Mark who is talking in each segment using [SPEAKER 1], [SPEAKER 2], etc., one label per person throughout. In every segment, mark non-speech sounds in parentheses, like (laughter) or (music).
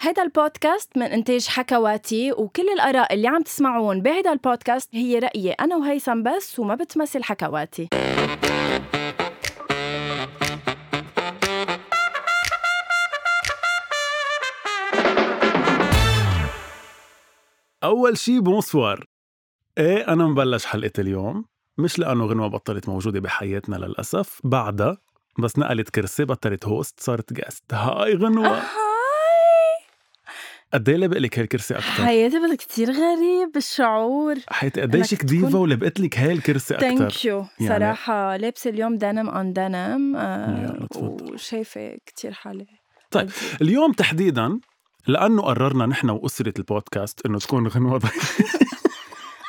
[SPEAKER 1] هيدا البودكاست من إنتاج حكواتي وكل الآراء اللي عم تسمعون بهيدا البودكاست هي رأيي أنا وهيثم بس وما بتمثل حكواتي
[SPEAKER 2] أول شي بونسوار إيه أنا مبلش حلقة اليوم مش لأنه غنوة بطلت موجودة بحياتنا للأسف بعدها بس نقلت كرسي بطلت هوست صارت جاست هاي غنوة
[SPEAKER 1] آه، هاي
[SPEAKER 2] قد ايه لبقلك هالكرسي أكتر؟
[SPEAKER 1] حياتي بدك كتير غريب الشعور
[SPEAKER 2] حياتي قد
[SPEAKER 1] إنك
[SPEAKER 2] ايش
[SPEAKER 1] تكون-
[SPEAKER 2] ديفا ولبقت لك هاي الكرسي أكتر
[SPEAKER 1] ثانك يو
[SPEAKER 2] يعني-
[SPEAKER 1] صراحة لابسة اليوم دنم أون دنم
[SPEAKER 2] يلا تفضل.
[SPEAKER 1] وشايفة كتير حالي
[SPEAKER 2] طيب. اليوم تحديدا لأنه قررنا نحن وأسرة البودكاست إنه تكون غنوة ضيف.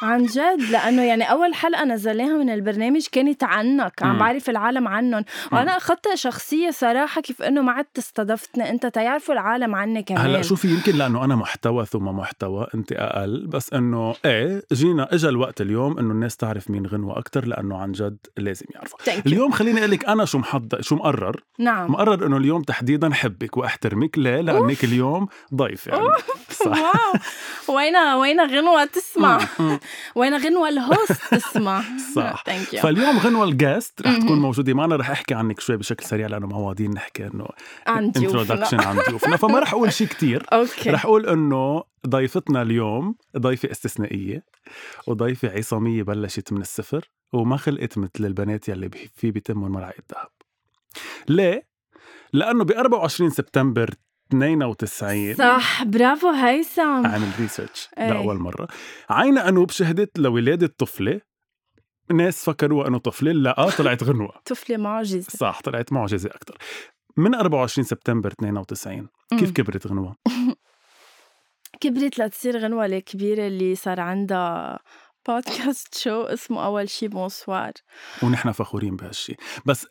[SPEAKER 1] عن جد لانه يعني اول حلقه نزلناها من البرنامج كانت عنك عم
[SPEAKER 2] مم.
[SPEAKER 1] بعرف العالم عنهم وانا اخذتها شخصيه صراحه كيف انه ما عدت استضفتني انت تيعرفوا العالم عني كمان
[SPEAKER 2] هلا شوفي يمكن لأنه أنا محتوى ثم محتوى أنت أقل بس إنه إيه جينا إجا الوقت اليوم إنه الناس تعرف مين غنوة أكتر لأنه عن جد لازم يعرفوا
[SPEAKER 1] Thank you.
[SPEAKER 2] اليوم خليني اقول لك انا شو محضر شو مقرر
[SPEAKER 1] نعم
[SPEAKER 2] مقرر انه اليوم تحديدا حبك واحترمك ليه لانك اليوم ضيف يعني صح
[SPEAKER 1] (laughs) واو وين وين غنوه تسمع
[SPEAKER 2] (laughs)
[SPEAKER 1] وين غنوه الهوست تسمع (laughs)
[SPEAKER 2] صح.
[SPEAKER 1] ثانك يو
[SPEAKER 2] فاليوم غنوة الجاست رح تكون
[SPEAKER 1] مهم.
[SPEAKER 2] موجودة معنا رح احكي عنك شوي بشكل سريع لانه مواضيع نحكي انه
[SPEAKER 1] عن
[SPEAKER 2] introduction
[SPEAKER 1] ضيوفنا
[SPEAKER 2] عن ضيوفنا فما رح اقول شيء كتير
[SPEAKER 1] اوكي
[SPEAKER 2] رح اقول انه ضيفتنا اليوم ضيفة استثنائية وضيفة عصامية بلشت من الصفر وما خلقت مثل البنات يلي بي- في بيتمهم ملعقة ذهب. ليه؟ لأنه ب 24 سبتمبر 92
[SPEAKER 1] صح برافو هيثم
[SPEAKER 2] عامل ريسيرش
[SPEAKER 1] إيه.
[SPEAKER 2] لأول مرة عين أنوب شهدت لولادة طفلة ناس فكروا أنه طفلة لا طلعت غنوة
[SPEAKER 1] طفله معجزه
[SPEAKER 2] صح طلعت معجزة أكثر من 24 سبتمبر 92 كيف كبرت غنوة؟
[SPEAKER 1] كبرت لتصير غنوة الكبيرة اللي صار عندها بودكاست شو اسمه أول شي بونسوار
[SPEAKER 2] ونحن فخورين بهالشي بس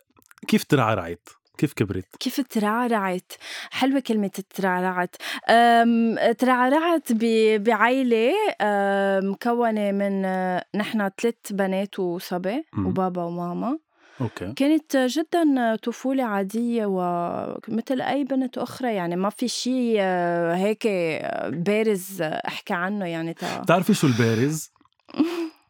[SPEAKER 2] كيف ترعرعت كيف كبرت
[SPEAKER 1] كيف ترعرعت حلوة كلمة ترعرعت أم، ترعرعت ب- بعيلة أم، مكونة من أه، نحن ثلاث بنات وصبي
[SPEAKER 2] مم.
[SPEAKER 1] وبابا وماما
[SPEAKER 2] اوكي
[SPEAKER 1] كانت جدا طفولة عادية ومثل أي بنت أخرى يعني ما في شي أه، هيك بارز أحكي عنه يعني تا...
[SPEAKER 2] بتعرفي
[SPEAKER 1] (laughs)
[SPEAKER 2] شو البارز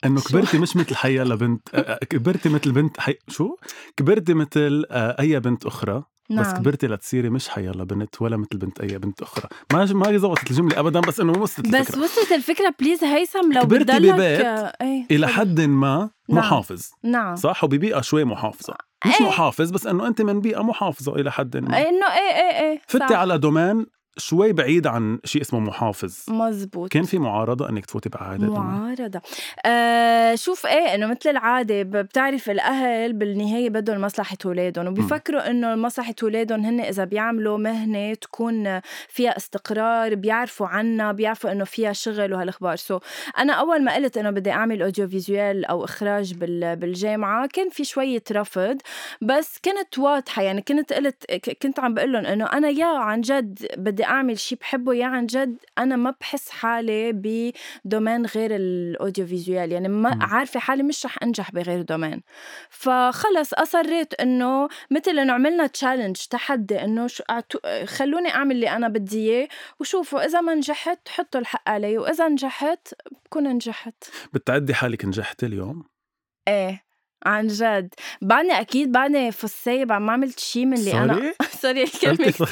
[SPEAKER 2] انه
[SPEAKER 1] شو؟
[SPEAKER 2] كبرتي مش مثل حيا لبنت أ- أ- كبرتي مثل بنت حي... شو كبرتي مثل آه، اي بنت اخرى
[SPEAKER 1] نعم.
[SPEAKER 2] بس كبرتي لتصيري مش حيا لبنت ولا مثل بنت اي بنت اخرى ما ما زبطت الجمله ابدا بس انه وصلت
[SPEAKER 1] بس
[SPEAKER 2] الفكره
[SPEAKER 1] وصلت الفكره بليز هيثم لو
[SPEAKER 2] كبرتي
[SPEAKER 1] بضلك
[SPEAKER 2] ببيت
[SPEAKER 1] ايه تفضل.
[SPEAKER 2] الى حد ما
[SPEAKER 1] نعم.
[SPEAKER 2] محافظ
[SPEAKER 1] نعم
[SPEAKER 2] صح وببيئه شوي محافظه مش
[SPEAKER 1] إيه.
[SPEAKER 2] محافظ بس انه انت من بيئه محافظه الى حد ما
[SPEAKER 1] إيه انه ايه ايه ايه
[SPEAKER 2] فتي على دومين شوي بعيد عن شيء اسمه محافظ
[SPEAKER 1] مزبوط
[SPEAKER 2] كان في معارضه انك تفوتي بعادة دومين؟
[SPEAKER 1] معارضة آه شوف ايه انه مثل العادة ب- بتعرف الاهل بالنهاية بدهم مصلحة اولادهم وبيفكروا انه مصلحة اولادهم هن اذا بيعملوا مهنة تكون فيها استقرار بيعرفوا عنها بيعرفوا انه فيها شغل وهالاخبار سو انا اول ما قلت انه بدي اعمل اوديو فيزيوال او اخراج بال بالجامعة كان في شوية رفض بس كنت واضحة يعني كنت قلت ك- كنت عم بقول لهم انه انا يا عن جد بدي اعمل شيء بحبه يا عن جد انا ما بحس حالي ب دومين غير الاوديو فيزيوال يعني ما
[SPEAKER 2] مم.
[SPEAKER 1] عارفه حالي مش رح انجح بغير دومين فخلص اصريت انه مثل انه عملنا تشالنج تحدي انه شو أعتو- خلوني اعمل اللي انا بدي اياه وشوفوا اذا ما نجحت حطوا الحق علي واذا نجحت بكون نجحت
[SPEAKER 2] بتعدي حالك نجحت اليوم
[SPEAKER 1] ايه عن جد بعدني اكيد بعدني فصية بعد ما عملت شيء من اللي انا
[SPEAKER 2] سوري؟
[SPEAKER 1] (laughs) سوري الكلمه
[SPEAKER 2] قلتي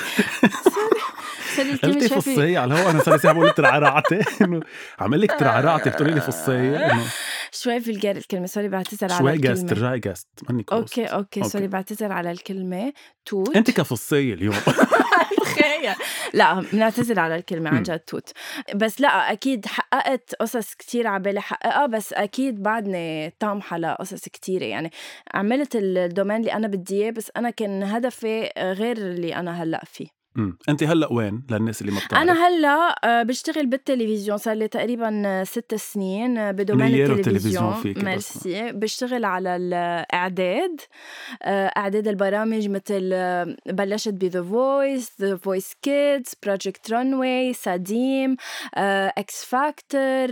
[SPEAKER 1] سوري الكلمه
[SPEAKER 2] قلتي
[SPEAKER 1] شايفه
[SPEAKER 2] فصية على الهوا انا صار لي ساعه بقول ترعرعتي (laughs) انه عم لك ترعرعتي بتقولي لي
[SPEAKER 1] (laughs)
[SPEAKER 2] فصية انه
[SPEAKER 1] شوي فيلجار الكلمه سوري بعتذر على
[SPEAKER 2] شوي جاست
[SPEAKER 1] الكلمه
[SPEAKER 2] ترجعي جاست ماني كوست
[SPEAKER 1] اوكي اوكي
[SPEAKER 2] أوكي.
[SPEAKER 1] سوري بعتذر على الكلمه توت
[SPEAKER 2] انت كفصية اليوم (laughs)
[SPEAKER 1] (laughs) تخيل لا بنعتذر على الكلمة عن
[SPEAKER 2] مم.
[SPEAKER 1] جد توت بس لا أكيد حققت قصص كتير على بالي حققها بس أكيد بعدني طامحة لقصص كتيرة يعني عملت الدومين اللي أنا بدي إياه بس أنا كان هدفي غير اللي أنا هلأ فيه
[SPEAKER 2] أمم. انت هلا وين للناس اللي ما بتعرف
[SPEAKER 1] أنا هلأ آه، بشتغل بالتلفزيون صار لي تقريبا آه، ست سنين آه، بدومين
[SPEAKER 2] منيرة
[SPEAKER 1] التلفزيون
[SPEAKER 2] التلفزيون فيكي بس.
[SPEAKER 1] ميرسي بشتغل على الإعداد آه، اعداد البرامج مثل آه، بلشت بذا فويس ذا فويس كيدز بروجكت رانواي ساديم آه، اكس فاكتور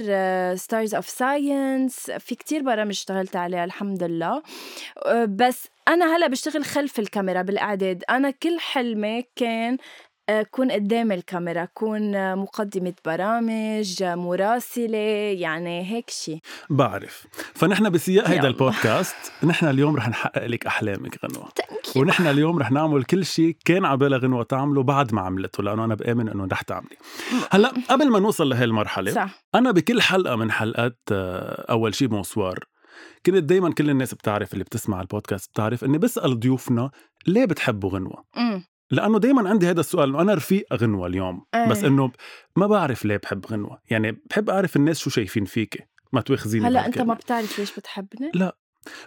[SPEAKER 1] ستارز اوف ساينس في كتير برامج اشتغلت عليها الحمد لله آه، بس انا هلا بشتغل خلف الكاميرا بالاعداد انا كل حلمي كان آه، كون قدام الكاميرا كون آه، مقدمة برامج آه، مراسلة يعني هيك شيء
[SPEAKER 2] بعرف فنحن بسياق هيدا
[SPEAKER 1] يلا.
[SPEAKER 2] البودكاست نحن اليوم رح نحقق لك احلامك غنوه
[SPEAKER 1] Thank you.
[SPEAKER 2] ونحن اليوم رح نعمل كل شيء كان على بالها غنوه تعمله بعد ما عملته لانه انا بامن انه رح تعملي هلا قبل ما نوصل لهي المرحله
[SPEAKER 1] صح
[SPEAKER 2] انا بكل حلقه من حلقات آه، اول شيء بونسوار كنت دائما كل الناس بتعرف اللي بتسمع البودكاست بتعرف اني بسال ضيوفنا ليه بتحبوا غنوه
[SPEAKER 1] أمم.
[SPEAKER 2] لانه دائما عندي هذا السؤال انه انا رفيق غنوه اليوم
[SPEAKER 1] إيه.
[SPEAKER 2] بس انه ما بعرف ليه بحب غنوه يعني بحب اعرف الناس شو شايفين فيك ما تواخذيني
[SPEAKER 1] هلا انت
[SPEAKER 2] بهالكلمة.
[SPEAKER 1] ما بتعرف ليش بتحبني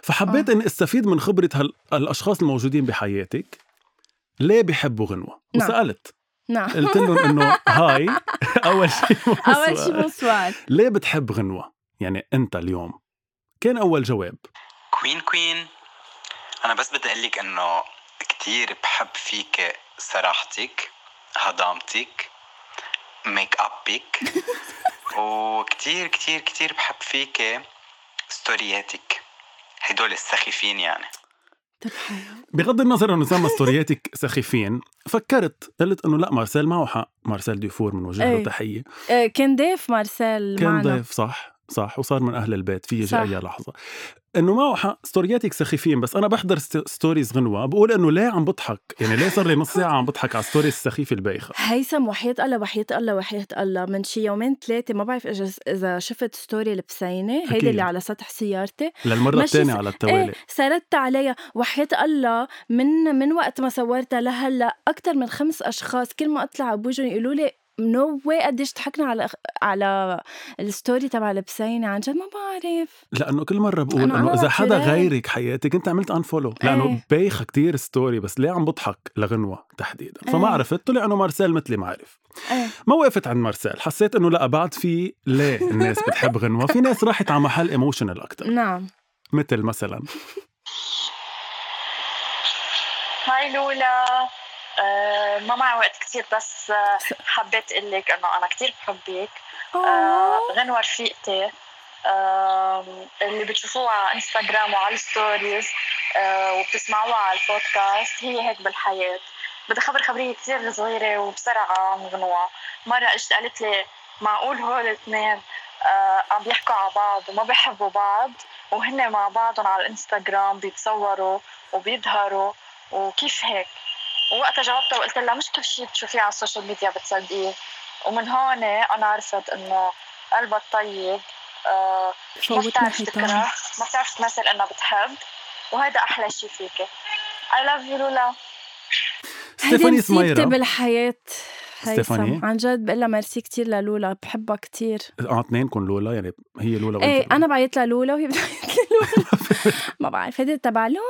[SPEAKER 2] فحبيت
[SPEAKER 1] آه.
[SPEAKER 2] اني استفيد من خبره هال... الاشخاص الموجودين بحياتك ليه بيحبوا غنوه
[SPEAKER 1] نعم.
[SPEAKER 2] وسالت
[SPEAKER 1] نعم (laughs)
[SPEAKER 2] قلت لهم انه هاي اول شيء
[SPEAKER 1] اول شيء
[SPEAKER 2] (laughs)
[SPEAKER 1] بونسوار
[SPEAKER 2] ليه بتحب غنوة؟ يعني أنت اليوم كان أول جواب
[SPEAKER 3] كوين كوين انا بس بدي اقول لك انه كتير بحب فيك صراحتك هضامتك ميك ابك وكتير كتير كتير بحب فيك ستورياتك هدول السخيفين يعني
[SPEAKER 1] طب حلو.
[SPEAKER 2] بغض النظر أنه سما ستورياتك
[SPEAKER 1] (laughs)
[SPEAKER 2] سخيفين فكرت قلت أنه لا مارسيل معه حق مارسيل ديفور من وجه له
[SPEAKER 1] إيه.
[SPEAKER 2] تحية
[SPEAKER 1] آه، كان ضيف مارسيل
[SPEAKER 2] كان
[SPEAKER 1] معنا
[SPEAKER 2] ضيف صح صح وصار من أهل البيت في يجي
[SPEAKER 1] صح.
[SPEAKER 2] أي لحظة أنه معه حق ستورياتك سخيفين بس أنا بحضر ست- ستوريز غنوة بقول أنه ليه عم بضحك يعني ليه صار لي نص ساعة عم بضحك على الستوريز السخيفة البايخة
[SPEAKER 1] هيثم وحياة الله وحياة الله وحياة الله من شي يومين ثلاثة ما بعرف إجا- إذا شفت ستوري البسينة
[SPEAKER 2] أكيد.
[SPEAKER 1] هيدي اللي على سطح سيارتي
[SPEAKER 2] للمرة
[SPEAKER 1] ماشي
[SPEAKER 2] الثانية
[SPEAKER 1] س-
[SPEAKER 2] على التوالي
[SPEAKER 1] إيه سردت عليها وحياة الله من من وقت ما صورتها لهلا أكثر من خمس أشخاص كل ما أطلع على بوجهم يقولوا لي نو واي قديش ضحكنا على على الستوري تبع البسينة عن جد ما بعرف
[SPEAKER 2] لانه كل مره بقول
[SPEAKER 1] أنا-
[SPEAKER 2] انه
[SPEAKER 1] أنا
[SPEAKER 2] اذا
[SPEAKER 1] وقت
[SPEAKER 2] حدا
[SPEAKER 1] ليه؟
[SPEAKER 2] غيرك حياتك انت عملت ان فولو لانه
[SPEAKER 1] إيه.
[SPEAKER 2] بايخه كتير ستوري بس ليه عم بضحك لغنوه تحديدا فما
[SPEAKER 1] إيه.
[SPEAKER 2] عرفت طلع انه مارسيل مثلي ما عرف
[SPEAKER 1] إيه.
[SPEAKER 2] ما وقفت عند مارسيل حسيت انه لا بعد في ليه الناس بتحب غنوه في ناس راحت على محل ايموشنال اكثر
[SPEAKER 1] نعم
[SPEAKER 2] مثل
[SPEAKER 1] (laughs)
[SPEAKER 2] مثلا
[SPEAKER 4] هاي لولا آه، ما معي وقت كثير بس آه، حبيت اقول لك انه انا كثير بحبك آه، غنوة رفيقتي آم، اللي بتشوفوها على انستغرام وعلى الستوريز آه، وبتسمعوها على البودكاست هي هيك بالحياة بدي خبر خبرية كثير صغيرة وبسرعة عن غنوة مرة اجت قالت لي معقول هول الاثنين آه، عم بيحكوا على بعض وما بيحبوا بعض وهن مع بعضهم على الانستغرام بيتصوروا وبيظهروا وكيف هيك ووقتها جاوبتها وقلت لها مش كل شيء بتشوفيه على السوشيال ميديا بتصدقيه ومن هون انا عرفت انه قلبها الطيب آه، ما
[SPEAKER 1] فوتنا
[SPEAKER 4] بتعرف
[SPEAKER 1] حيطان
[SPEAKER 4] تكره ما بتعرف تمثل انها بتحب وهذا احلى شيء فيكي I love you لولا
[SPEAKER 1] هيدي
[SPEAKER 2] ستيفاني
[SPEAKER 1] مصيبتي
[SPEAKER 2] سميرة
[SPEAKER 1] بالحياة
[SPEAKER 2] ستيفاني؟
[SPEAKER 1] هيثم عن جد بقلها ميرسي كتير للولا بحبها كتير
[SPEAKER 2] اه اثنينكم لولا يعني هي لولا وأنت
[SPEAKER 1] ايه
[SPEAKER 2] لولا.
[SPEAKER 1] انا بعيط للولا وهي (laughs) بتعيط
[SPEAKER 2] (laughs)
[SPEAKER 1] للولا ما بعرف هيدي تبع لولا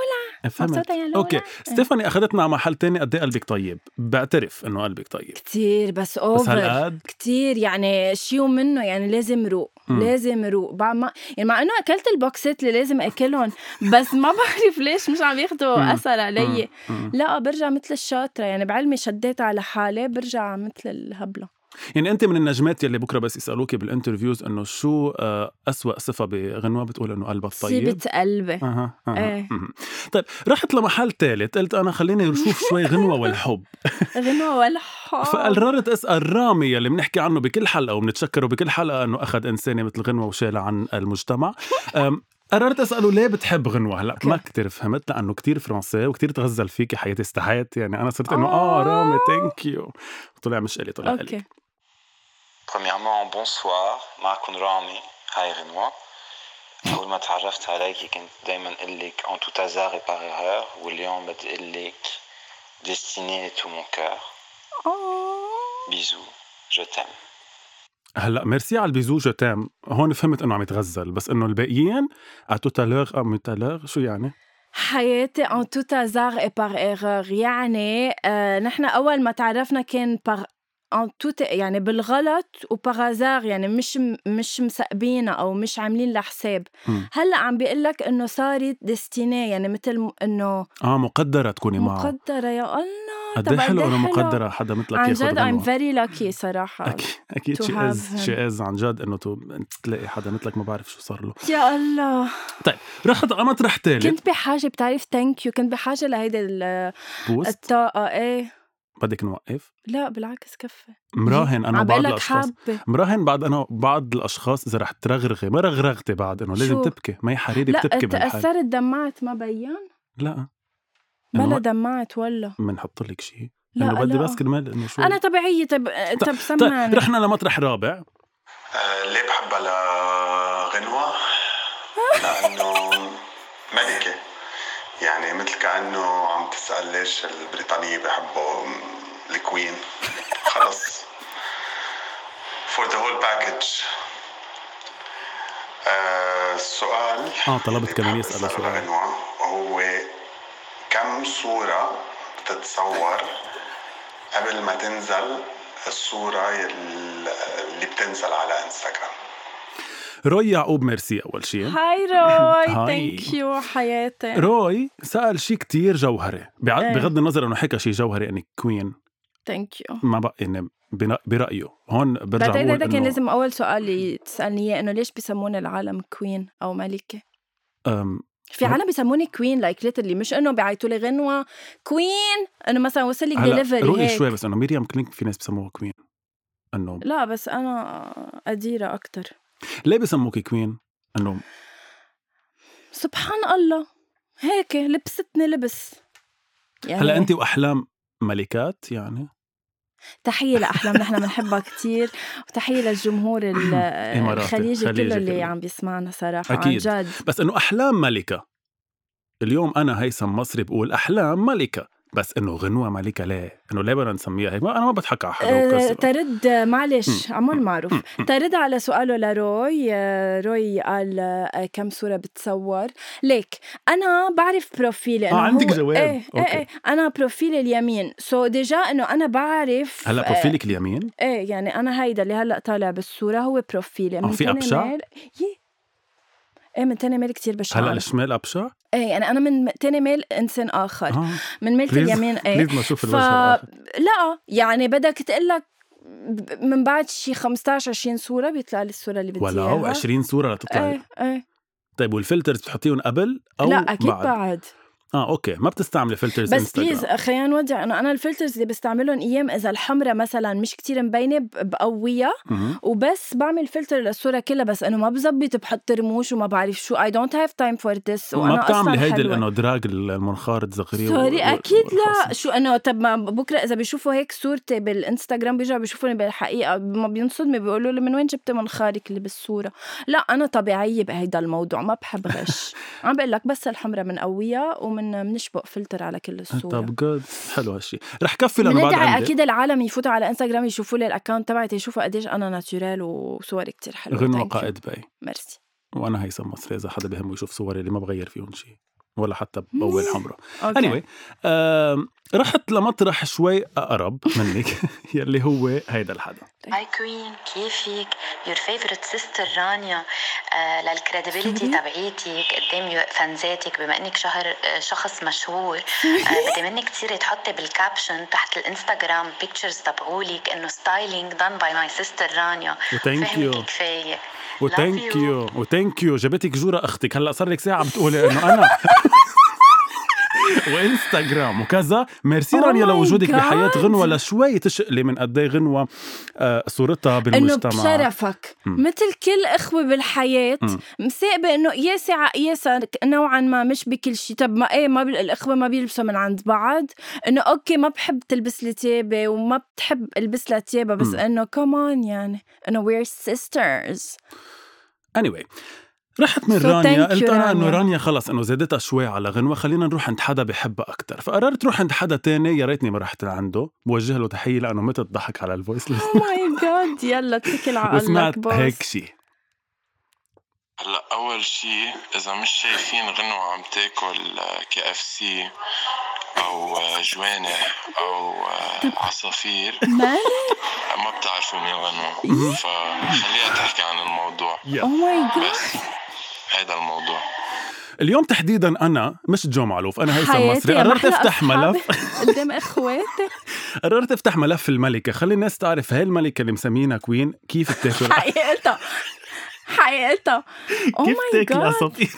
[SPEAKER 2] إيه، فهمت
[SPEAKER 1] مبسوطة يا لولا إيه.
[SPEAKER 2] اوكي ستيفاني اخذتنا على محل تاني قد ايه قلبك طيب بعترف انه قلبك طيب
[SPEAKER 1] كتير بس
[SPEAKER 2] بس
[SPEAKER 1] اوفر
[SPEAKER 2] هالقد
[SPEAKER 1] كتير يعني شيو منه يعني لازم روق
[SPEAKER 2] مم.
[SPEAKER 1] لازم روق بعد ما يعني مع انه اكلت البوكسات اللي لازم اكلهم بس ما (laughs) بعرف ليش مش عم
[SPEAKER 2] مم.
[SPEAKER 1] ياخذوا اثر علي
[SPEAKER 2] مم. مم.
[SPEAKER 1] لا برجع مثل الشاطره يعني بعلمي شديت على حالي برجع مثل الهبله
[SPEAKER 2] يعني انت من النجمات يلي بكره بس يسالوك بالانترفيوز انه شو آه، أسوأ صفه بغنوه بتقول انه قلبها الطيب
[SPEAKER 1] سيبت قلبي
[SPEAKER 2] اها اها
[SPEAKER 1] إيه.
[SPEAKER 2] مهم. طيب رحت لمحل ثالث قلت انا خليني نشوف شوي غنوه والحب آه.
[SPEAKER 1] غنوه والحب
[SPEAKER 2] فقررت اسال رامي يلي بنحكي عنه بكل حلقه وبنتشكره بكل حلقه انه اخذ انسانه مثل غنوه وشالها عن المجتمع أم، قررت اساله ليه بتحب غنوه هلا ما كتير فهمت لانه كتير فرنسي وكتير تغزل فيكي حياتي استحيت يعني انا صرت انه اه رامي ثانك يو طلع مش الي طلع الي
[SPEAKER 1] اوكي
[SPEAKER 3] Premièrement, bonsoir. معكم رامي. هاي غنوة. أول ما تعرفت عليكي كنت دايما قلك en tout hasard et par erreur واليوم بدي قلك destinée et tout mon cœur.
[SPEAKER 2] آه.
[SPEAKER 3] بيزو. Je t'aime.
[SPEAKER 2] هلا ميرسي على البيزو جو تام هون فهمت انه عم يتغزل بس انه الباقيين اتوتالوغ ام تالوغ شو يعني؟
[SPEAKER 1] حياتي ان توت ازار اي بار ايرور يعني آه نحن اول ما تعرفنا كان بار ان توت يعني بالغلط وبارازار يعني مش م- مش مسقبينا او مش عاملين لها حساب
[SPEAKER 2] مم.
[SPEAKER 1] هلا عم بيقول لك انه صارت ديستيني يعني مثل م- انه
[SPEAKER 2] اه مقدره تكوني معه
[SPEAKER 1] مقدره يا الله
[SPEAKER 2] قد
[SPEAKER 1] طب
[SPEAKER 2] إيه حلو
[SPEAKER 1] قد إيه
[SPEAKER 2] انه مقدره حدا مثلك
[SPEAKER 1] عن
[SPEAKER 2] ياخذ
[SPEAKER 1] جد I'm
[SPEAKER 2] (laughs) غنوة
[SPEAKER 1] very lucky صراحه
[SPEAKER 2] اكيد اكيد
[SPEAKER 1] to
[SPEAKER 2] شي
[SPEAKER 1] have
[SPEAKER 2] از
[SPEAKER 1] him.
[SPEAKER 2] شي از عن جد انه تو- تلاقي حدا مثلك ما بعرف شو صار له
[SPEAKER 1] يا الله
[SPEAKER 2] رحت على مطرح ثالث
[SPEAKER 1] كنت بحاجه بتعرف ثانك يو كنت بحاجه لهيدي ال-
[SPEAKER 2] بوست
[SPEAKER 1] الطاقه ايه
[SPEAKER 2] بدك نوقف
[SPEAKER 1] لا بالعكس كفي
[SPEAKER 2] مراهن انا
[SPEAKER 1] عم
[SPEAKER 2] بعض
[SPEAKER 1] بقول لك
[SPEAKER 2] الاشخاص
[SPEAKER 1] حابه
[SPEAKER 2] مراهن بعد انا بعض الاشخاص اذا رح ترغرغي ما رغرغتي بعد انه لازم
[SPEAKER 1] شو؟
[SPEAKER 2] تبكي ما هي حريري
[SPEAKER 1] لا
[SPEAKER 2] بتبكي بالحال
[SPEAKER 1] تاثرت دمعت ما بين
[SPEAKER 2] لا
[SPEAKER 1] بلا
[SPEAKER 2] إنه
[SPEAKER 1] دمعت ولا
[SPEAKER 2] بنحط لك شيء
[SPEAKER 1] لا
[SPEAKER 2] انه بدي
[SPEAKER 1] لا.
[SPEAKER 2] بس كرمال انه شو
[SPEAKER 1] انا تبعيه تب
[SPEAKER 2] طيب،
[SPEAKER 1] تب سمان
[SPEAKER 2] رحنا لمطرح رابع
[SPEAKER 3] آه، ليه بحبها لغنوة؟ لأنه ملكة يعني مثل كأنه عم تسأل ليش البريطانية بحبوا الكوين خلص for the whole package آه، السؤال
[SPEAKER 2] اه طلبت
[SPEAKER 3] اللي
[SPEAKER 2] كمان
[SPEAKER 3] بحب
[SPEAKER 2] يسأل
[SPEAKER 3] أسأله
[SPEAKER 2] سؤال
[SPEAKER 3] لغنوة هو كم صورة بتتصور قبل ما تنزل الصورة يل- اللي بتنزل على انستغرام
[SPEAKER 2] روي يعقوب ميرسي اول شيء (laughs)
[SPEAKER 1] هاي روي
[SPEAKER 2] هاي.
[SPEAKER 1] ثانك يو حياتي
[SPEAKER 2] روي سأل شيء كتير جوهري بع-
[SPEAKER 1] إيه.
[SPEAKER 2] بغض النظر انه حكى شيء جوهري اني كوين
[SPEAKER 1] ثانك يو
[SPEAKER 2] ما بقى يعني بن- برأيه هون برجع
[SPEAKER 1] بعتقد
[SPEAKER 2] بقول
[SPEAKER 1] هذا كان
[SPEAKER 2] انه
[SPEAKER 1] لازم اول سؤال تسالني اياه انه ليش بيسمون العالم كوين او ملكه؟
[SPEAKER 2] أم،
[SPEAKER 1] في
[SPEAKER 2] لا.
[SPEAKER 1] عالم بيسموني كوين لايك ليترلي مش انه بيعيطوا لي غنوه كوين انه مثلا وصل لك
[SPEAKER 2] هلا
[SPEAKER 1] دليفري
[SPEAKER 2] رؤية
[SPEAKER 1] هيك
[SPEAKER 2] شوي بس انه ميريام كلينك في ناس بسموها كوين انه
[SPEAKER 1] لا بس انا قديره اكثر
[SPEAKER 2] ليه بسموك كوين؟ انه
[SPEAKER 1] سبحان الله هيك لبستني لبس يعني
[SPEAKER 2] هلا انت واحلام ملكات يعني
[SPEAKER 1] تحية لأحلام نحن بنحبها كتير وتحية للجمهور ال-
[SPEAKER 2] (clears throat) إماراتي،
[SPEAKER 1] الخليجي
[SPEAKER 2] خليجي
[SPEAKER 1] كله اللي
[SPEAKER 2] كله.
[SPEAKER 1] عم بيسمعنا صراحة
[SPEAKER 2] أكيد.
[SPEAKER 1] عن جد
[SPEAKER 2] بس انه احلام ملكه اليوم انا هيثم مصري بقول احلام ملكه بس انه غنوه ملكه ليه؟ انه ليه بدنا نسميها هيك؟ ما- انا ما بضحك على حدا
[SPEAKER 1] أه،
[SPEAKER 2] وكذا.
[SPEAKER 1] ترد معلش عمر معروف ترد على سؤاله لروي أه، روي قال أه، كم صورة بتصور ليك أنا بعرف بروفيلي إنه
[SPEAKER 2] آه، عندك
[SPEAKER 1] هو-
[SPEAKER 2] جواب.
[SPEAKER 1] ايه ايه,
[SPEAKER 2] أوكي.
[SPEAKER 1] إيه أنا بروفيلي اليمين سو ديجا إنه أنا بعرف
[SPEAKER 2] هلا
[SPEAKER 1] أه،
[SPEAKER 2] بروفيلك اليمين
[SPEAKER 1] ايه يعني انا هيدا اللي هلا طالع بالصوره هو بروفيلي
[SPEAKER 2] آه، في
[SPEAKER 1] تاني
[SPEAKER 2] أبشع؟
[SPEAKER 1] ميل يي. ايه من تاني ميل كتير بشعر
[SPEAKER 2] هلا الشمال ابشع؟
[SPEAKER 1] ايه يعني انا من تاني ميل انسان اخر
[SPEAKER 2] اه
[SPEAKER 1] من ميلة
[SPEAKER 2] بليز-
[SPEAKER 1] طيب. اليمين ايه
[SPEAKER 2] بليز ما اشوف
[SPEAKER 1] ف
[SPEAKER 2] الوجه آه. الآخر.
[SPEAKER 1] لا يعني بدك تقول لك من بعد شي 15 20 صوره بيطلع لي الصوره اللي بدي
[SPEAKER 2] ولو
[SPEAKER 1] اياها
[SPEAKER 2] 20 صوره لتطلع لك.
[SPEAKER 1] ايه ايه
[SPEAKER 2] طيب والفلترز بتحطيهم قبل او
[SPEAKER 1] لا اكيد
[SPEAKER 2] بعد.
[SPEAKER 1] بعد,
[SPEAKER 2] اه اوكي ما بتستعملي فلترز
[SPEAKER 1] بس
[SPEAKER 2] انستغرام
[SPEAKER 1] بليز خلينا نودع انه انا الفلترز اللي بستعملهم ايام اذا الحمرة مثلا مش كتير مبينه ب- بقويها
[SPEAKER 2] مهم.
[SPEAKER 1] وبس بعمل فلتر للصوره كلها بس انه ما بزبط بحط رموش وما بعرف شو اي دونت هاف تايم فور ذس
[SPEAKER 2] ما
[SPEAKER 1] وانا
[SPEAKER 2] بتعملي
[SPEAKER 1] اصلا
[SPEAKER 2] هيدي
[SPEAKER 1] حلوة.
[SPEAKER 2] لانه دراج المنخار تزغريه
[SPEAKER 1] سوري
[SPEAKER 2] وال-
[SPEAKER 1] اكيد لا
[SPEAKER 2] والخصم.
[SPEAKER 1] شو انه طب ما بكره اذا بيشوفوا هيك صورتي بالانستغرام بيرجعوا بيشوفوني بالحقيقه ما بينصدموا بيقولوا لي من وين جبت منخارك اللي بالصوره لا انا طبيعيه بهيدا الموضوع ما بحب غش
[SPEAKER 2] (laughs)
[SPEAKER 1] عم بقول لك بس الحمرة من قوية ومن منشبق فلتر على كل الصوره
[SPEAKER 2] آه، طب جود حلو هالشيء رح كفي لانه بعد
[SPEAKER 1] بندعي
[SPEAKER 2] عندي
[SPEAKER 1] اكيد العالم يفوتوا على انستغرام يشوفوا لي الاكونت تبعتي يشوفوا قديش انا ناتشورال وصوري كتير حلوه
[SPEAKER 2] غنوة
[SPEAKER 1] Thank you.
[SPEAKER 2] قائد باي
[SPEAKER 1] ميرسي
[SPEAKER 2] وانا هيثم مصري اذا حدا بهمه يشوف صوري اللي ما بغير فيهم شيء ولا
[SPEAKER 1] Mm.
[SPEAKER 2] حتى باول حمره
[SPEAKER 1] اوكي
[SPEAKER 2] اني anyway, آم، رحت لمطرح شوي اقرب منك (laughs) يلي هو هيدا الحدا
[SPEAKER 5] هاي كوين كيفك يور فيفورت سيستر رانيا آه للكريديبيليتي
[SPEAKER 1] سوري؟
[SPEAKER 5] تبعيتك قدام يو- فانزاتك بما انك شهر آه شخص مشهور آه بدي منك تصيري تحطي بالكابشن تحت الانستغرام بيكتشرز تبعولك انه ستايلينج دان باي ماي سيستر رانيا
[SPEAKER 2] وثانك يو
[SPEAKER 5] فهمك كفايه
[SPEAKER 2] وثانك
[SPEAKER 5] Love you.
[SPEAKER 2] يو وثانك يو جابتك جوره اختك هلا صار لك ساعه عم تقولي انه (laughs) انا وانستغرام وكذا ميرسي
[SPEAKER 1] Oh
[SPEAKER 2] رانيا لوجودك
[SPEAKER 1] my God.
[SPEAKER 2] بحياه غنوه لشوي تشقلي من قد ايه غنوه آه، صورتها
[SPEAKER 1] انه
[SPEAKER 2] بالمجتمع
[SPEAKER 1] بشرفك
[SPEAKER 2] مم.
[SPEAKER 1] مثل كل اخوه بالحياه
[SPEAKER 2] مم.
[SPEAKER 1] مساقبه انه قياسه على قياسه نوعا ما مش بكل شيء طب ما ايه ما بال- الاخوه ما بيلبسوا من عند بعض انه اوكي ما بحب تلبس لي تيابه وما بتحب البس لها تيابه بس
[SPEAKER 2] مم.
[SPEAKER 1] انه كمان يعني انه وير سيسترز
[SPEAKER 2] anyway رحت من
[SPEAKER 1] So
[SPEAKER 2] رانيا
[SPEAKER 1] thank
[SPEAKER 2] قلت
[SPEAKER 1] you,
[SPEAKER 2] انا انه
[SPEAKER 1] رانيا.
[SPEAKER 2] رانيا خلص انه زادتها شوي على غنوه خلينا نروح عند حدا بحبها اكثر فقررت روح عند حدا تاني يا ريتني ما رحت لعنده بوجه له تحيه لانه مت الضحك على الفويس
[SPEAKER 1] او ماي جاد Oh يلا
[SPEAKER 2] (laughs)
[SPEAKER 1] اتكل (laughs) على الله
[SPEAKER 2] وسمعت
[SPEAKER 1] بوس.
[SPEAKER 2] هيك شيء
[SPEAKER 6] هلا اول شي اذا مش شايفين غنوة عم تاكل آه، كي اف سي او آه، جوانح او آه، عصافير
[SPEAKER 1] مالك
[SPEAKER 6] ما بتعرفوا مين غنوة فخليها تحكي عن الموضوع
[SPEAKER 1] او ماي جاد
[SPEAKER 6] بس هيدا الموضوع
[SPEAKER 2] اليوم تحديدا انا مش جو معلوف انا هيثم
[SPEAKER 1] حياتي
[SPEAKER 2] مصري
[SPEAKER 1] يا
[SPEAKER 2] قررت
[SPEAKER 1] محلى
[SPEAKER 2] افتح
[SPEAKER 1] أصحابي
[SPEAKER 2] ملف
[SPEAKER 1] قدام
[SPEAKER 2] (laughs)
[SPEAKER 1] اخواتي
[SPEAKER 2] قررت افتح ملف الملكه خلي الناس تعرف هاي الملكه اللي مسمينها كوين كيف بتاكل
[SPEAKER 1] حقيقتها حقيقتها او
[SPEAKER 2] (laughs) كيف
[SPEAKER 1] ماي
[SPEAKER 2] تاكل
[SPEAKER 1] جاد
[SPEAKER 2] عصافير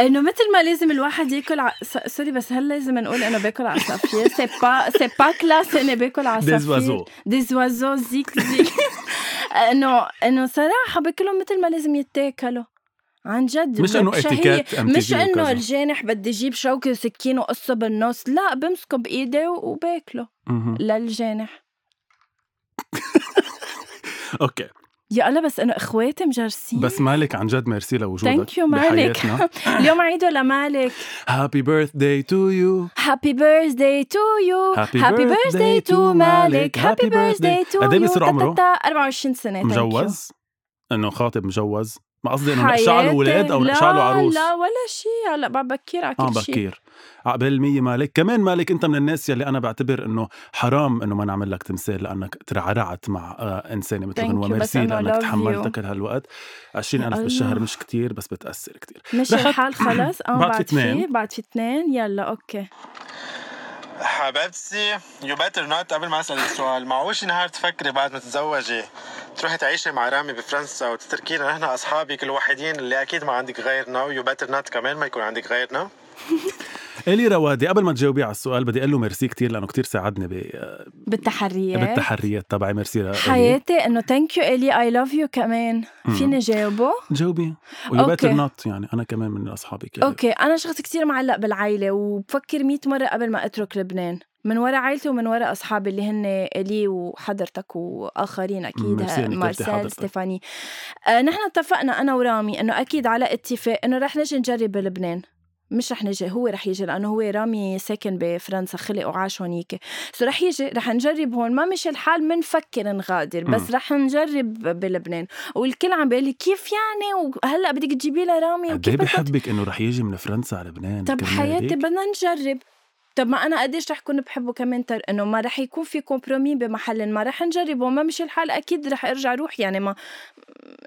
[SPEAKER 1] انه مثل ما لازم الواحد ياكل ع... س- سوري بس هل لازم نقول انه باكل
[SPEAKER 2] (laughs)
[SPEAKER 1] عصافير سي با سي با كلاس اني باكل عصافير
[SPEAKER 2] oiseaux.
[SPEAKER 1] ديز اوزو زيك (laughs) زيك انه انه صراحه باكلهم مثل ما لازم يتاكلوا عن جد
[SPEAKER 2] مش إنه
[SPEAKER 1] بشهية.
[SPEAKER 2] etiquette MTV
[SPEAKER 1] مش انه
[SPEAKER 2] وكذا.
[SPEAKER 1] الجانح بدي اجيب شوكه وسكين وقصه بالنص لا بمسكه بايدي وباكله
[SPEAKER 2] مهم.
[SPEAKER 1] للجانح
[SPEAKER 2] اوكي
[SPEAKER 1] يا الله بس انه اخواتي مجرسين
[SPEAKER 2] بس مالك عن جد ميرسي لوجودك
[SPEAKER 1] ثانك يو مالك اليوم عيده لمالك
[SPEAKER 2] هابي بيرث داي تو يو
[SPEAKER 1] Happy birthday to you
[SPEAKER 2] Happy
[SPEAKER 1] Happy
[SPEAKER 2] birthday
[SPEAKER 1] birthday
[SPEAKER 2] to
[SPEAKER 1] to مالك
[SPEAKER 2] مالك.
[SPEAKER 1] Happy
[SPEAKER 2] Happy
[SPEAKER 1] birthday
[SPEAKER 2] birthday.
[SPEAKER 1] to
[SPEAKER 2] قد
[SPEAKER 1] you
[SPEAKER 2] إيه بصير
[SPEAKER 1] تا- تا-
[SPEAKER 2] عمره؟
[SPEAKER 1] تا- 24 سنة thank you.
[SPEAKER 2] مجوز انه خاطب مجوز ما قصدي انه
[SPEAKER 1] حياتي.
[SPEAKER 2] نقشع له اولاد او نقشع له عروس
[SPEAKER 1] لا لا ولا شيء هلا بقى بكير على
[SPEAKER 2] اه
[SPEAKER 1] كل شيء
[SPEAKER 2] بكير عقبال مية آه، مالك كمان مالك انت من الناس يلي انا بعتبر انه حرام انه ما نعمل لك تمثال لانك ترعرعت مع آه انسانه مثل
[SPEAKER 1] Thank
[SPEAKER 2] غنوه
[SPEAKER 1] you، بس
[SPEAKER 2] ميرسي
[SPEAKER 1] أنا love
[SPEAKER 2] لانك
[SPEAKER 1] you.
[SPEAKER 2] تحملتها كل هالوقت 20000
[SPEAKER 1] الله.
[SPEAKER 2] بالشهر مش كتير بس بتاثر كتير
[SPEAKER 1] مش
[SPEAKER 2] رحت-
[SPEAKER 1] الحال
[SPEAKER 2] (clears throat)
[SPEAKER 1] خلص اه
[SPEAKER 2] بعد في
[SPEAKER 1] بعد في
[SPEAKER 2] اثنين.
[SPEAKER 1] بعد في اثنين يلا اوكي
[SPEAKER 7] حبيبتي يو بيتر نوت قبل ما اسال السؤال معقولش نهار تفكري بعد ما تتزوجي تروحي تعيشي مع رامي بفرنسا وتتركينا نحن اصحابك الوحيدين اللي اكيد ما عندك غيرنا ويو بيتر نوت كمان ما يكون عندك غيرنا
[SPEAKER 2] الي روادي قبل ما تجاوبي على السؤال بدي اقول له ميرسي كتير لانه كتير ساعدني ب- آه،
[SPEAKER 1] بالتحريات
[SPEAKER 2] بالتحريات تبعي ميرسي لإلي.
[SPEAKER 1] حياتي انه ثانك يو الي اي لاف يو كمان فيني جاوبه
[SPEAKER 2] جاوبي ويو
[SPEAKER 1] أوكي.
[SPEAKER 2] بيتر نوت يعني انا كمان من اصحابك يلي-
[SPEAKER 1] اوكي انا شخص كتير معلق بالعائله وبفكر 100 مره قبل ما اترك لبنان من ورا عائلتي ومن ورا اصحابي اللي هن الي وحضرتك واخرين اكيد
[SPEAKER 2] ميرسي إنك قلتي
[SPEAKER 1] مارسيل
[SPEAKER 2] حضرتك.
[SPEAKER 1] ستيفاني آه نحن اتفقنا انا ورامي انه اكيد على اتفاق انه رح نجي نجرب بلبنان مش رح نجي هو رح يجي لانه هو رامي ساكن بفرنسا خلق وعاش هونيك سو رح يجي رح نجرب هون ما مشي الحال منفكر نغادر بس رح نجرب بلبنان والكل عم بيقول لي كيف يعني وهلا بدك تجيبي لها رامي
[SPEAKER 2] قد ايه
[SPEAKER 1] وكيف بدك
[SPEAKER 2] بحبك انه رح يجي من فرنسا على لبنان
[SPEAKER 1] طب
[SPEAKER 2] كرمال
[SPEAKER 1] حياتي
[SPEAKER 2] هيك؟
[SPEAKER 1] بدنا نجرب طب ما انا قديش رح كون بحبه كمان تر انه ما رح يكون في كومبرومي بمحل ما رح نجربه ما مشي الحال اكيد رح ارجع روح يعني ما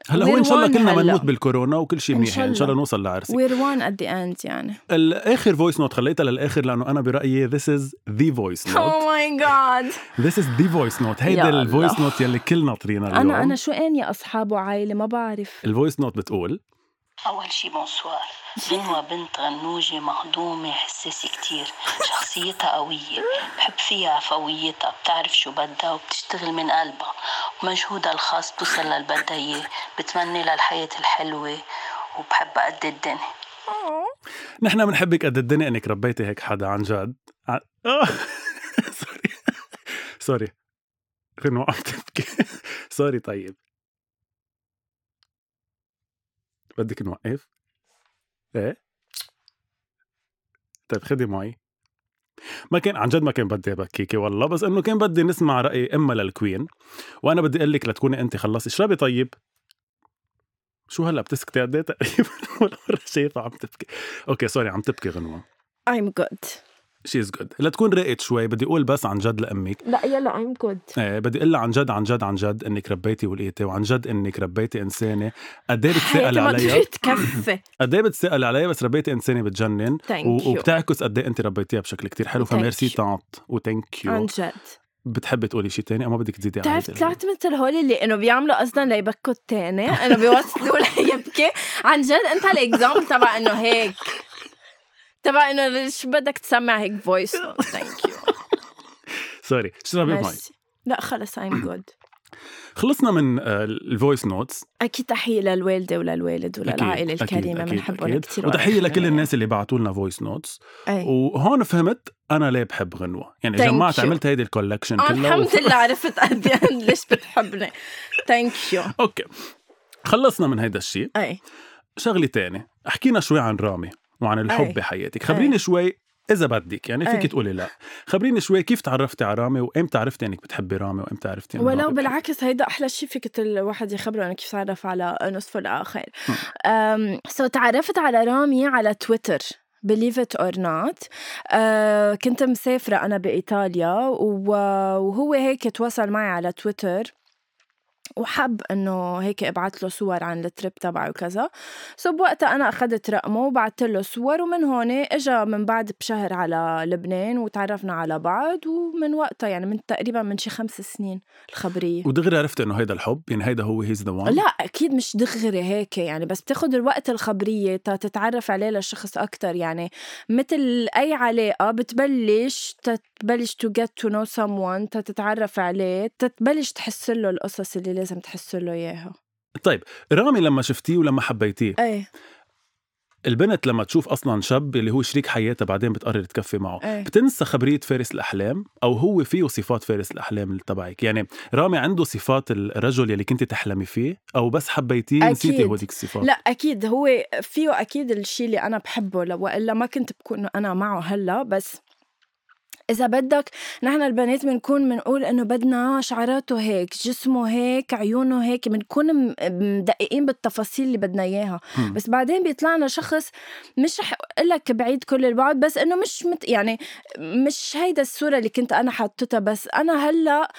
[SPEAKER 2] هلا هو ان شاء
[SPEAKER 1] we're
[SPEAKER 2] الله
[SPEAKER 1] one
[SPEAKER 2] كلنا
[SPEAKER 1] هلا.
[SPEAKER 2] بنموت بالكورونا وكل شيء
[SPEAKER 1] إن
[SPEAKER 2] منيح
[SPEAKER 1] شاء
[SPEAKER 2] يعني ان شاء الله
[SPEAKER 1] الله.
[SPEAKER 2] نوصل لعرسك
[SPEAKER 1] وير وان ات ذا اند يعني
[SPEAKER 2] الاخر فويس نوت خليتها للاخر لانه انا برايي ذيس از ذا
[SPEAKER 1] (laughs)
[SPEAKER 2] فويس
[SPEAKER 1] او
[SPEAKER 2] نوت
[SPEAKER 1] ماي جاد
[SPEAKER 2] ذيس از ذا فويس نوت
[SPEAKER 1] يا
[SPEAKER 2] هيدا
[SPEAKER 1] الله.
[SPEAKER 2] الفويس نوت يلي كل ناطرينها اليوم
[SPEAKER 1] انا انا شو اني اصحاب وعائله ما بعرف
[SPEAKER 2] الفويس نوت بتقول
[SPEAKER 5] أول شي بونسوار بنوة بنت غنوجة مهضومة حساسة كتير شخصيتها قوية بحب فيها عفويتها بتعرف شو بدها وبتشتغل من قلبها ومجهودها الخاص بتوصل للي بدها إياه بتمني للحياة الحلوة وبحب قد الدنيا
[SPEAKER 1] Oh,
[SPEAKER 2] نحن بنحبك قد الدنيا انك ربيتي هيك حدا عن جد ع- آه. (laughs) سوري سوري غنوة عم تبكي سوري طيب بدك نوقف؟ ايه طيب خدي معي ما كان عن جد ما كان بدي بكيكي والله بس انه كان بدي نسمع راي اما للكوين وانا بدي اقول لك لتكوني انت خلصتي اشربي طيب شو هلا بتسكتي قد ايه تقريبا (laughs) ولا مره شايفها عم تبكي اوكي سوري عم تبكي غنوه
[SPEAKER 1] ايم جود
[SPEAKER 2] شي از جود لتكون رقت شوي بدي اقول بس عن جد لامك
[SPEAKER 1] لا يلا ايم جود
[SPEAKER 2] آه بدي اقول لها عن جد عن جد عن جد انك ربيتي ولقيتي وعن جد انك ربيتي انسانه قد ايه
[SPEAKER 1] (laughs)
[SPEAKER 2] بتسال
[SPEAKER 1] حياتي ما
[SPEAKER 2] عليها
[SPEAKER 1] قدرت كفي
[SPEAKER 2] قد ايه بتسال عليها بس ربيتي انسانه بتجنن
[SPEAKER 1] Thank you.
[SPEAKER 2] و- وبتعكس قد ايه انت ربيتيها بشكل كتير حلو
[SPEAKER 1] Thank
[SPEAKER 2] فميرسي
[SPEAKER 1] you.
[SPEAKER 2] تانت وثانك
[SPEAKER 1] عن
[SPEAKER 2] يو
[SPEAKER 1] جد
[SPEAKER 2] بتحبي تقولي شيء تاني او ما بدك تزيدي على
[SPEAKER 1] بتعرف
[SPEAKER 2] هيدا
[SPEAKER 1] طلعت مثل هول اللي انه بيعملوا قصدا ليبكوا التاني انه بيوصلوا (laughs) ليبكي عن جد انت الاكزامبل تبع انه هيك تبع انه شو بدك تسمع هيك فويس ثانك
[SPEAKER 2] سوري اشربي
[SPEAKER 1] يو
[SPEAKER 2] معي
[SPEAKER 1] لا خلص ايم جود
[SPEAKER 2] خلصنا من آه، الفويس نوتس
[SPEAKER 1] اكيد تحيه للوالده وللوالد وللعائله
[SPEAKER 2] أكيد،
[SPEAKER 1] الكريمه
[SPEAKER 2] أكيد،
[SPEAKER 1] بنحبهم
[SPEAKER 2] أكيد.
[SPEAKER 1] كثير
[SPEAKER 2] وتحيه
[SPEAKER 1] (laughs)
[SPEAKER 2] لكل الناس اللي بعتوا لنا فويس نوتس
[SPEAKER 1] ايه.
[SPEAKER 2] وهون فهمت انا ليه بحب غنوه يعني
[SPEAKER 1] Thank
[SPEAKER 2] جمعت
[SPEAKER 1] you.
[SPEAKER 2] عملت هيدي الكولكشن
[SPEAKER 1] آه،
[SPEAKER 2] كلها
[SPEAKER 1] الحمد
[SPEAKER 2] (laughs)
[SPEAKER 1] لله عرفت قد إيه (laughs) ليش بتحبني ثانك يو
[SPEAKER 2] اوكي خلصنا من هيدا الشيء
[SPEAKER 1] اي
[SPEAKER 2] شغله تانية حكينا شوي عن رامي وعن
[SPEAKER 1] أي.
[SPEAKER 2] الحب بحياتك
[SPEAKER 1] إيه.
[SPEAKER 2] خبريني شوي اذا بدك يعني
[SPEAKER 1] أي.
[SPEAKER 2] فيك تقولي لا خبريني شوي كيف تعرفتي على رامي وامتى عرفتي انك بتحبي رامي وامتى عرفتي إنه
[SPEAKER 1] ولو
[SPEAKER 2] رامي بحبك؟
[SPEAKER 1] بالعكس هيدا احلى شيء فيك تل- الواحد يخبره انه كيف تعرف على نصفه الاخر أم، سو تعرفت على رامي على تويتر believe it or not أه كنت مسافرة أنا بإيطاليا و- وهو هيك تواصل معي على تويتر وحب انه هيك ابعت له صور عن الترip تبعه وكذا سو بوقتها انا اخذت رقمه وبعثت له صور ومن هون اجى من بعد بشهر على لبنان وتعرفنا على بعض ومن وقتها يعني من تقريبا من شي خمس سنين الخبريه
[SPEAKER 2] ودغري عرفت انه هيدا الحب يعني هيدا هو هيز ذا وان
[SPEAKER 1] لا اكيد مش دغري هيك يعني بس بتاخد الوقت الخبريه تا تتعرف عليه للشخص اكثر يعني مثل اي علاقه بتبلش تبلش تو جيت تو نو someone تا تتعرف عليه تتبلش تحس له القصص اللي لازم تحس له اياها
[SPEAKER 2] طيب رامي لما شفتيه ولما حبيتيه
[SPEAKER 1] ايه
[SPEAKER 2] البنت لما تشوف اصلا شاب اللي هو شريك حياتها بعدين بتقرر تكفي معه
[SPEAKER 1] ايه
[SPEAKER 2] بتنسى خبريه فارس الاحلام او هو فيه صفات فارس الاحلام اللي تبعك يعني رامي عنده صفات الرجل يلي كنت تحلمي فيه او بس حبيتيه
[SPEAKER 1] أكيد.
[SPEAKER 2] نسيتي هوديك الصفات
[SPEAKER 1] لا اكيد هو فيه اكيد الشيء اللي انا بحبه لو والا ما كنت بكون انا معه هلا بس إذا بدك نحن البنات بنكون بنقول إنه بدنا شعراته هيك، جسمه هيك، عيونه هيك، بنكون م- مدققين بالتفاصيل اللي بدنا إياها،
[SPEAKER 2] هم.
[SPEAKER 1] بس بعدين بيطلع لنا شخص مش رح اقول لك بعيد كل البعد بس انه مش مت يعني مش هيدا الصوره اللي كنت انا حاطتها بس انا هلا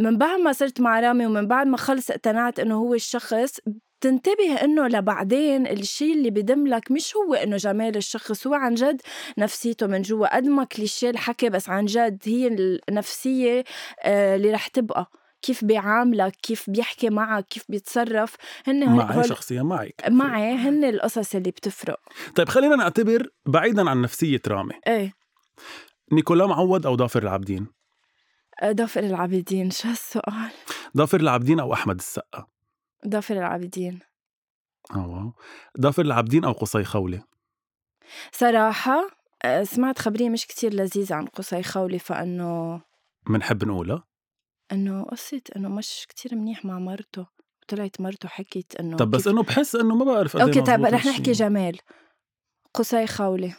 [SPEAKER 1] من بعد ما صرت مع رامي ومن بعد ما خلص اقتنعت انه هو الشخص تنتبه انه لبعدين الشيء اللي بدم لك مش هو انه جمال الشخص هو عن جد نفسيته من جوا قد ما كليشيه الحكي بس عن جد هي النفسيه آه، اللي رح تبقى كيف بيعاملك كيف بيحكي معك كيف بيتصرف هن هول-
[SPEAKER 2] معي
[SPEAKER 1] هول-
[SPEAKER 2] شخصيا معك
[SPEAKER 1] معي هن القصص اللي بتفرق
[SPEAKER 2] طيب خلينا نعتبر بعيدا عن نفسيه رامي
[SPEAKER 1] ايه
[SPEAKER 2] نيكولا معوض او ضافر العابدين
[SPEAKER 1] ضافر أه، العابدين شو هالسؤال
[SPEAKER 2] ضافر العابدين او احمد السقا
[SPEAKER 1] ضافر العابدين
[SPEAKER 2] اه واو ضافر العابدين او قصي خوله
[SPEAKER 1] صراحة آه، سمعت خبرية مش كتير لذيذة عن قصي خولي فإنه
[SPEAKER 2] منحب نقولها
[SPEAKER 1] إنه قصة إنه مش كتير منيح مع مرته طلعت مرته حكيت إنه
[SPEAKER 2] طب بس
[SPEAKER 1] كيف-
[SPEAKER 2] انه بحس انه ما بعرف قد إيه
[SPEAKER 1] أوكي طيب
[SPEAKER 2] مزبوط
[SPEAKER 1] رح
[SPEAKER 2] هالشي.
[SPEAKER 1] نحكي جمال قصي خولي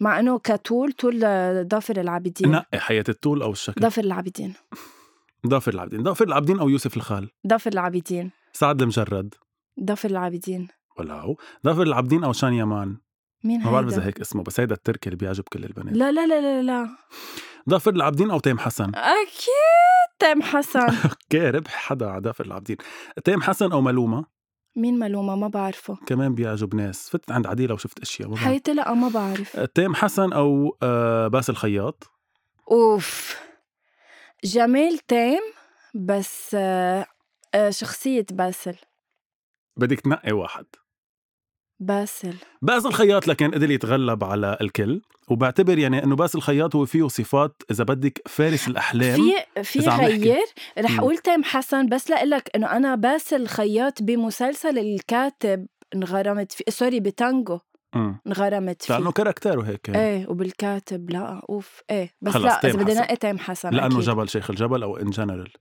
[SPEAKER 1] مع إنه كطول طول آه، ضافر العابدين
[SPEAKER 2] نقي حياه الطول او الشكل
[SPEAKER 1] ضافر العابدين
[SPEAKER 2] ضافر العابدين ضافر العابدين او يوسف الخال
[SPEAKER 1] ضافر العابدين
[SPEAKER 2] سعد المجرد
[SPEAKER 1] ضافر العابدين
[SPEAKER 2] ولعو ضافر العابدين او شان يمان
[SPEAKER 1] مين
[SPEAKER 2] ما بعرف اذا
[SPEAKER 1] هيدا؟
[SPEAKER 2] هيك اسمه بس هيدا التركي اللي بيعجب كل البنات
[SPEAKER 1] لا لا لا لا لا
[SPEAKER 2] ضافر العابدين او تيم حسن
[SPEAKER 1] أكيد تيم حسن
[SPEAKER 2] (laughs) اوكي ربح حدا على ضافر العابدين تيم حسن او ملومه
[SPEAKER 1] مين ملومة ما بعرفه
[SPEAKER 2] كمان بيعجب ناس فتت عند عديله وشفت اشياء ما بعرف. أه.
[SPEAKER 1] حياتي لا ما بعرف
[SPEAKER 2] تيم حسن او آه، باسل خياط
[SPEAKER 1] اوف جمال تام بس آه، آه، شخصية باسل
[SPEAKER 2] بدك تنقي واحد
[SPEAKER 1] باسل
[SPEAKER 2] باسل خياط لكن قدر يتغلب على الكل وبعتبر يعني انه باسل خياط هو فيه صفات اذا بدك فارس الاحلام
[SPEAKER 1] في في
[SPEAKER 2] إذا عم نحكي.
[SPEAKER 1] غير رح
[SPEAKER 2] مم.
[SPEAKER 1] اقول تام حسن بس لقلك انه انا باسل خياط بمسلسل الكاتب انغرمت فيه سوري بتانجو
[SPEAKER 2] مم.
[SPEAKER 1] انغرمت فيه
[SPEAKER 2] لانه كاركتره هيك
[SPEAKER 1] ايه وبالكاتب لا اوف ايه بس
[SPEAKER 2] إيه. خلص،
[SPEAKER 1] لا
[SPEAKER 2] تام
[SPEAKER 1] اذا بدنا
[SPEAKER 2] حسن.
[SPEAKER 1] نقي تام حسن
[SPEAKER 2] لانه
[SPEAKER 1] أكيد.
[SPEAKER 2] جبل شيخ الجبل او ان جنرال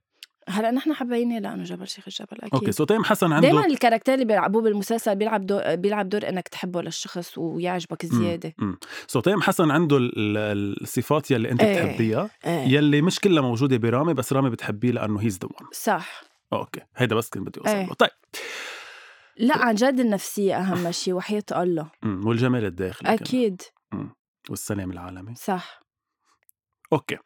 [SPEAKER 1] هلا نحن حبيناه لانه جبل شيخ الجبل اكيد
[SPEAKER 2] اوكي سو تيم حسن عنده
[SPEAKER 1] دائما الكاركتير اللي بيلعبوه بالمسلسل بيلعب دور بيلعب دور انك تحبه للشخص ويعجبك زياده
[SPEAKER 2] مم. سو تيم حسن عنده ال- ال- الصفات يلي انت
[SPEAKER 1] إيه.
[SPEAKER 2] بتحبيها
[SPEAKER 1] ايه
[SPEAKER 2] يلي مش كلها موجوده برامي بس رامي بتحبيه لانه هيز ذا ون
[SPEAKER 1] آه، صح
[SPEAKER 2] اوكي هيدا بس كنت بدي
[SPEAKER 1] إيه.
[SPEAKER 2] اوصله طيب
[SPEAKER 1] لا عن جد النفسيه اهم شيء وحياه
[SPEAKER 2] (laughs)
[SPEAKER 1] الله
[SPEAKER 2] مم. والجمال الداخلي كمان.
[SPEAKER 1] اكيد
[SPEAKER 2] والسلام العالمي
[SPEAKER 1] صح
[SPEAKER 2] اوكي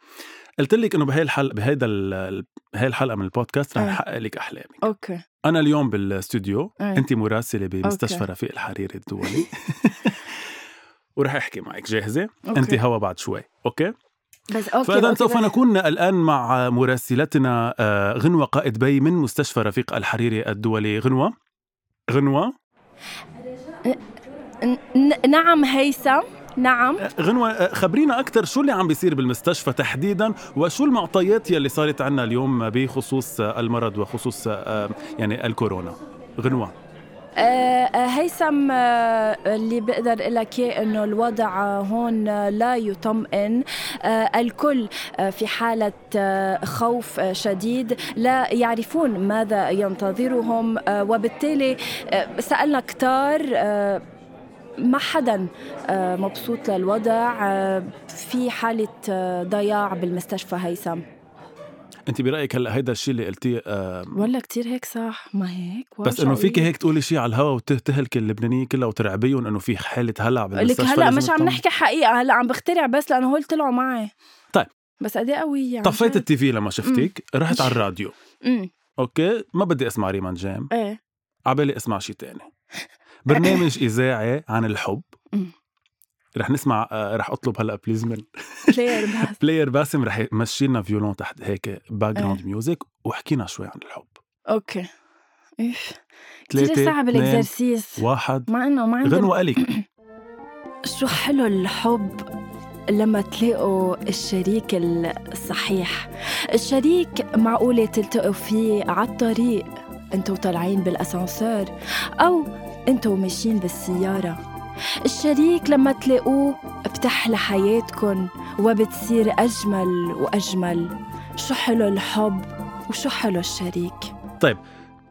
[SPEAKER 2] قلت لك انه بهي الحلقه بهيدا ال- بهي الحلقه من البودكاست رح
[SPEAKER 1] إيه.
[SPEAKER 2] نحقق لك احلامك
[SPEAKER 1] اوكي
[SPEAKER 2] انا اليوم بالاستوديو
[SPEAKER 1] إيه.
[SPEAKER 2] انت مراسله بمستشفى
[SPEAKER 1] أوكي.
[SPEAKER 2] رفيق الحريري الدولي (laughs) ورح احكي معك جاهزه
[SPEAKER 1] أوكي.
[SPEAKER 2] انت هوا بعد شوي اوكي
[SPEAKER 1] بس اوكي
[SPEAKER 2] فاذا
[SPEAKER 1] أوكي،
[SPEAKER 2] سوف
[SPEAKER 1] بس-
[SPEAKER 2] نكون الان مع مراسلتنا آه، غنوه قائد بي من مستشفى رفيق الحريري الدولي غنوه غنوه
[SPEAKER 1] ن- ن- نعم هيثم نعم
[SPEAKER 2] غنوة آه، خبرينا أكثر شو اللي عم بيصير بالمستشفى تحديدا وشو المعطيات يلي صارت عنا اليوم بخصوص آه، المرض وخصوص آه، يعني الكورونا غنوة
[SPEAKER 1] آه، آه، هيثم آه، اللي بقدر اقول لك اياه انه الوضع آه، هون آه، لا يطمئن آه، الكل آه، في حاله آه، خوف آه، شديد لا يعرفون ماذا ينتظرهم آه، وبالتالي آه، سالنا كتار آه، ما حدا آه، مبسوط للوضع آه، في حالة آه، ضياع بالمستشفى هيثم
[SPEAKER 2] أنت برأيك هلا هيدا الشيء اللي قلتيه آه،
[SPEAKER 1] ولا كتير هيك صح ما هيك
[SPEAKER 2] بس انه فيك هيك تقولي شيء على الهوا وتهلك اللبنانيين كلها وترعبيهم انه في حاله هلع
[SPEAKER 1] لك
[SPEAKER 2] بالمستشفى
[SPEAKER 1] هلا
[SPEAKER 2] لازم
[SPEAKER 1] مش عم
[SPEAKER 2] تطمن.
[SPEAKER 1] نحكي حقيقة هلا عم بخترع بس لأنه هول طلعوا معي
[SPEAKER 2] طيب.
[SPEAKER 1] بس قد ايه قوية عن
[SPEAKER 2] طفيت
[SPEAKER 1] جد.
[SPEAKER 2] التي في لما شفتك رحت على الراديو
[SPEAKER 1] أمم.
[SPEAKER 2] اوكي ما بدي اسمع ريمان جيم
[SPEAKER 1] ايه
[SPEAKER 2] عبالي اسمع شيء تاني برنامج اذاعي عن الحب
[SPEAKER 1] أمم.
[SPEAKER 2] رح نسمع آه، رح اطلب هلا بليز من
[SPEAKER 1] بلاير
[SPEAKER 2] (laughs)
[SPEAKER 1] بس
[SPEAKER 2] بلاير باسم رح يمشي لنا فيولون تحت هيك باك جراوند ميوزك وحكينا شوي عن الحب
[SPEAKER 1] اوكي ايش
[SPEAKER 2] ثلاثة،
[SPEAKER 1] كثير صعب
[SPEAKER 2] اثنين،
[SPEAKER 1] الاكزرسيس
[SPEAKER 2] واحد
[SPEAKER 1] ما انه ما عندنا
[SPEAKER 2] غنوة الك
[SPEAKER 1] شو حلو الحب لما تلاقوا الشريك الصحيح الشريك معقولة تلتقوا فيه على الطريق انتوا طالعين بالاسانسير او انتوا ماشيين بالسيارة الشريك لما تلاقوه بتحلى حياتكن وبتصير أجمل وأجمل شو حلو الحب وشو حلو الشريك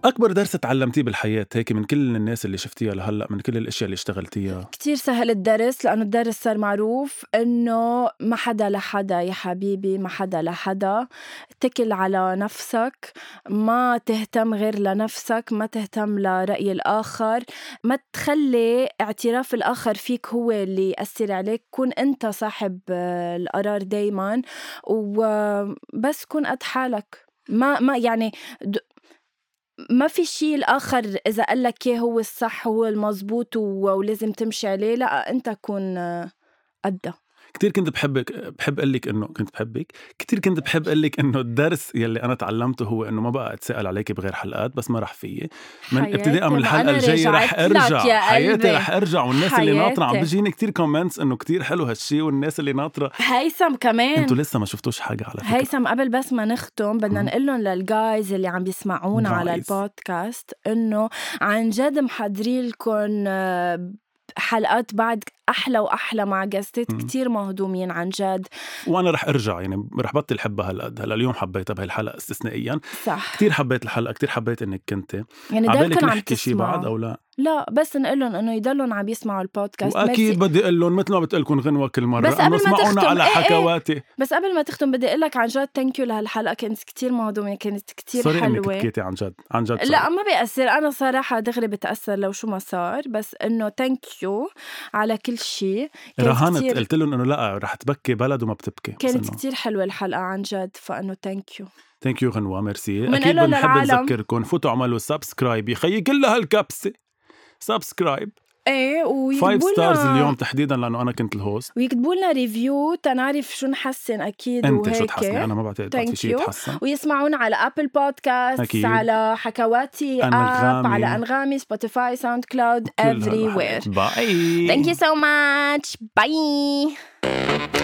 [SPEAKER 2] اكبر درس تعلمتيه بالحياه هيك من كل الناس اللي شفتيها لهلا من كل الاشياء اللي اشتغلتيها
[SPEAKER 1] كتير سهل الدرس لأنه الدرس صار معروف إنه ما حدا لحدا يا حبيبي ما حدا لحدا اتكل على نفسك ما تهتم غير لنفسك ما تهتم لرأي الآخر ما تخلي اعتراف الآخر فيك هو اللي يأثر عليك كون أنت صاحب آه، القرار دايما وبس كون قد حالك ما ما يعني د- ما في شيء الآخر إذا قال لك إيه هو الصح هو المزبوط و- ولازم تمشي عليه لا أنت كون آه، قده
[SPEAKER 2] كتير كنت بحبك بحب اقول لك انه كنت بحبك كتير كنت بحب اقول لك انه الدرس يلي انا تعلمته هو انه ما بقى اتساءل عليك بغير حلقات بس ما رح فيي من
[SPEAKER 1] حياتي،
[SPEAKER 2] ابتداء من
[SPEAKER 1] ما
[SPEAKER 2] الحلقه
[SPEAKER 1] أنا
[SPEAKER 2] الجايه رح
[SPEAKER 1] رجعت لك يا
[SPEAKER 2] ارجع حياتي
[SPEAKER 1] قلبي.
[SPEAKER 2] رح ارجع والناس اللي ناطره عم
[SPEAKER 1] حياتي.
[SPEAKER 2] بيجيني كتير كومنتس انه كتير حلو هالشي والناس اللي ناطره
[SPEAKER 1] هيثم كمان
[SPEAKER 2] انتوا لسه ما شفتوش حاجه على فكره
[SPEAKER 1] هيثم قبل بس ما نختم بدنا
[SPEAKER 2] مم.
[SPEAKER 1] نقول لهم للجايز اللي عم يسمعونا على
[SPEAKER 2] Guys.
[SPEAKER 1] البودكاست انه عن جد محضرين لكم آه، حلقات بعد احلى واحلى مع جاستات
[SPEAKER 2] مم.
[SPEAKER 1] كتير مهضومين عن جد
[SPEAKER 2] وانا رح ارجع يعني رح بطل حبها هالقد هلا اليوم حبيتها بهالحلقه استثنائيا
[SPEAKER 1] صح
[SPEAKER 2] كتير حبيت الحلقه كتير حبيت انك كنتي
[SPEAKER 1] يعني
[SPEAKER 2] عبالك
[SPEAKER 1] ضلكم عم
[SPEAKER 2] نحكي شي بعد
[SPEAKER 1] تسمعوا
[SPEAKER 2] او لا
[SPEAKER 1] لا بس نقول لهم انه يضلهم عم يسمعوا البودكاست
[SPEAKER 2] واكيد
[SPEAKER 1] ميرسي.
[SPEAKER 2] بدي اقول لهم مثل ما بتقلكم غنوه كل مره
[SPEAKER 1] بس قبل
[SPEAKER 2] إنه
[SPEAKER 1] ما
[SPEAKER 2] اسمعونا
[SPEAKER 1] تختم،
[SPEAKER 2] على
[SPEAKER 1] إيه إيه.
[SPEAKER 2] حكواتي
[SPEAKER 1] بس قبل ما تختم بدي اقول لك عن جد ثانك يو لهالحلقه كانت كتير مهضومه كانت كتير
[SPEAKER 2] سوري انك
[SPEAKER 1] حلوه
[SPEAKER 2] بكيتي عن جد عن جد
[SPEAKER 1] لا ما بيأثر أنا صراحة دغري بتأثر لو شو ما صار بس إنه ثانك يو على كل شيء كانت
[SPEAKER 2] رهنت
[SPEAKER 1] كتير-
[SPEAKER 2] قلت لهم انه لا رح تبكي بلد وما بتبكي
[SPEAKER 1] كانت كتير حلوة الحلقة عن جد فإنه ثانك يو
[SPEAKER 2] ثانك يو غنوه ميرسي
[SPEAKER 1] ومنقول
[SPEAKER 2] اكيد
[SPEAKER 1] له
[SPEAKER 2] بنحب
[SPEAKER 1] للعالم.
[SPEAKER 2] نذكركم فوتوا اعملوا سبسكرايب يا خيي كل هالكبسه سبسكرايب
[SPEAKER 1] إيه
[SPEAKER 2] 5
[SPEAKER 1] ويكتبوا
[SPEAKER 2] ستارز
[SPEAKER 1] لنا
[SPEAKER 2] اليوم تحديدا لانه انا كنت الهوست
[SPEAKER 1] ويكتبوا لنا ريفيو تنعرف شو نحسن أكيد
[SPEAKER 2] انت شو
[SPEAKER 1] وهيك
[SPEAKER 2] تحسني انا ما بعتقد بعد في
[SPEAKER 1] Thank
[SPEAKER 2] شيء
[SPEAKER 1] you.
[SPEAKER 2] يتحسن
[SPEAKER 1] (coughs) ويسمعونا على ابل بودكاست
[SPEAKER 2] أكيد.
[SPEAKER 1] على حكواتي اب
[SPEAKER 2] أنغامي.
[SPEAKER 1] على انغامي سبوتيفاي ساوند كلاود
[SPEAKER 2] كل
[SPEAKER 1] افري وير
[SPEAKER 2] هالحلقات. باي
[SPEAKER 1] ثانك يو سو ماتش باي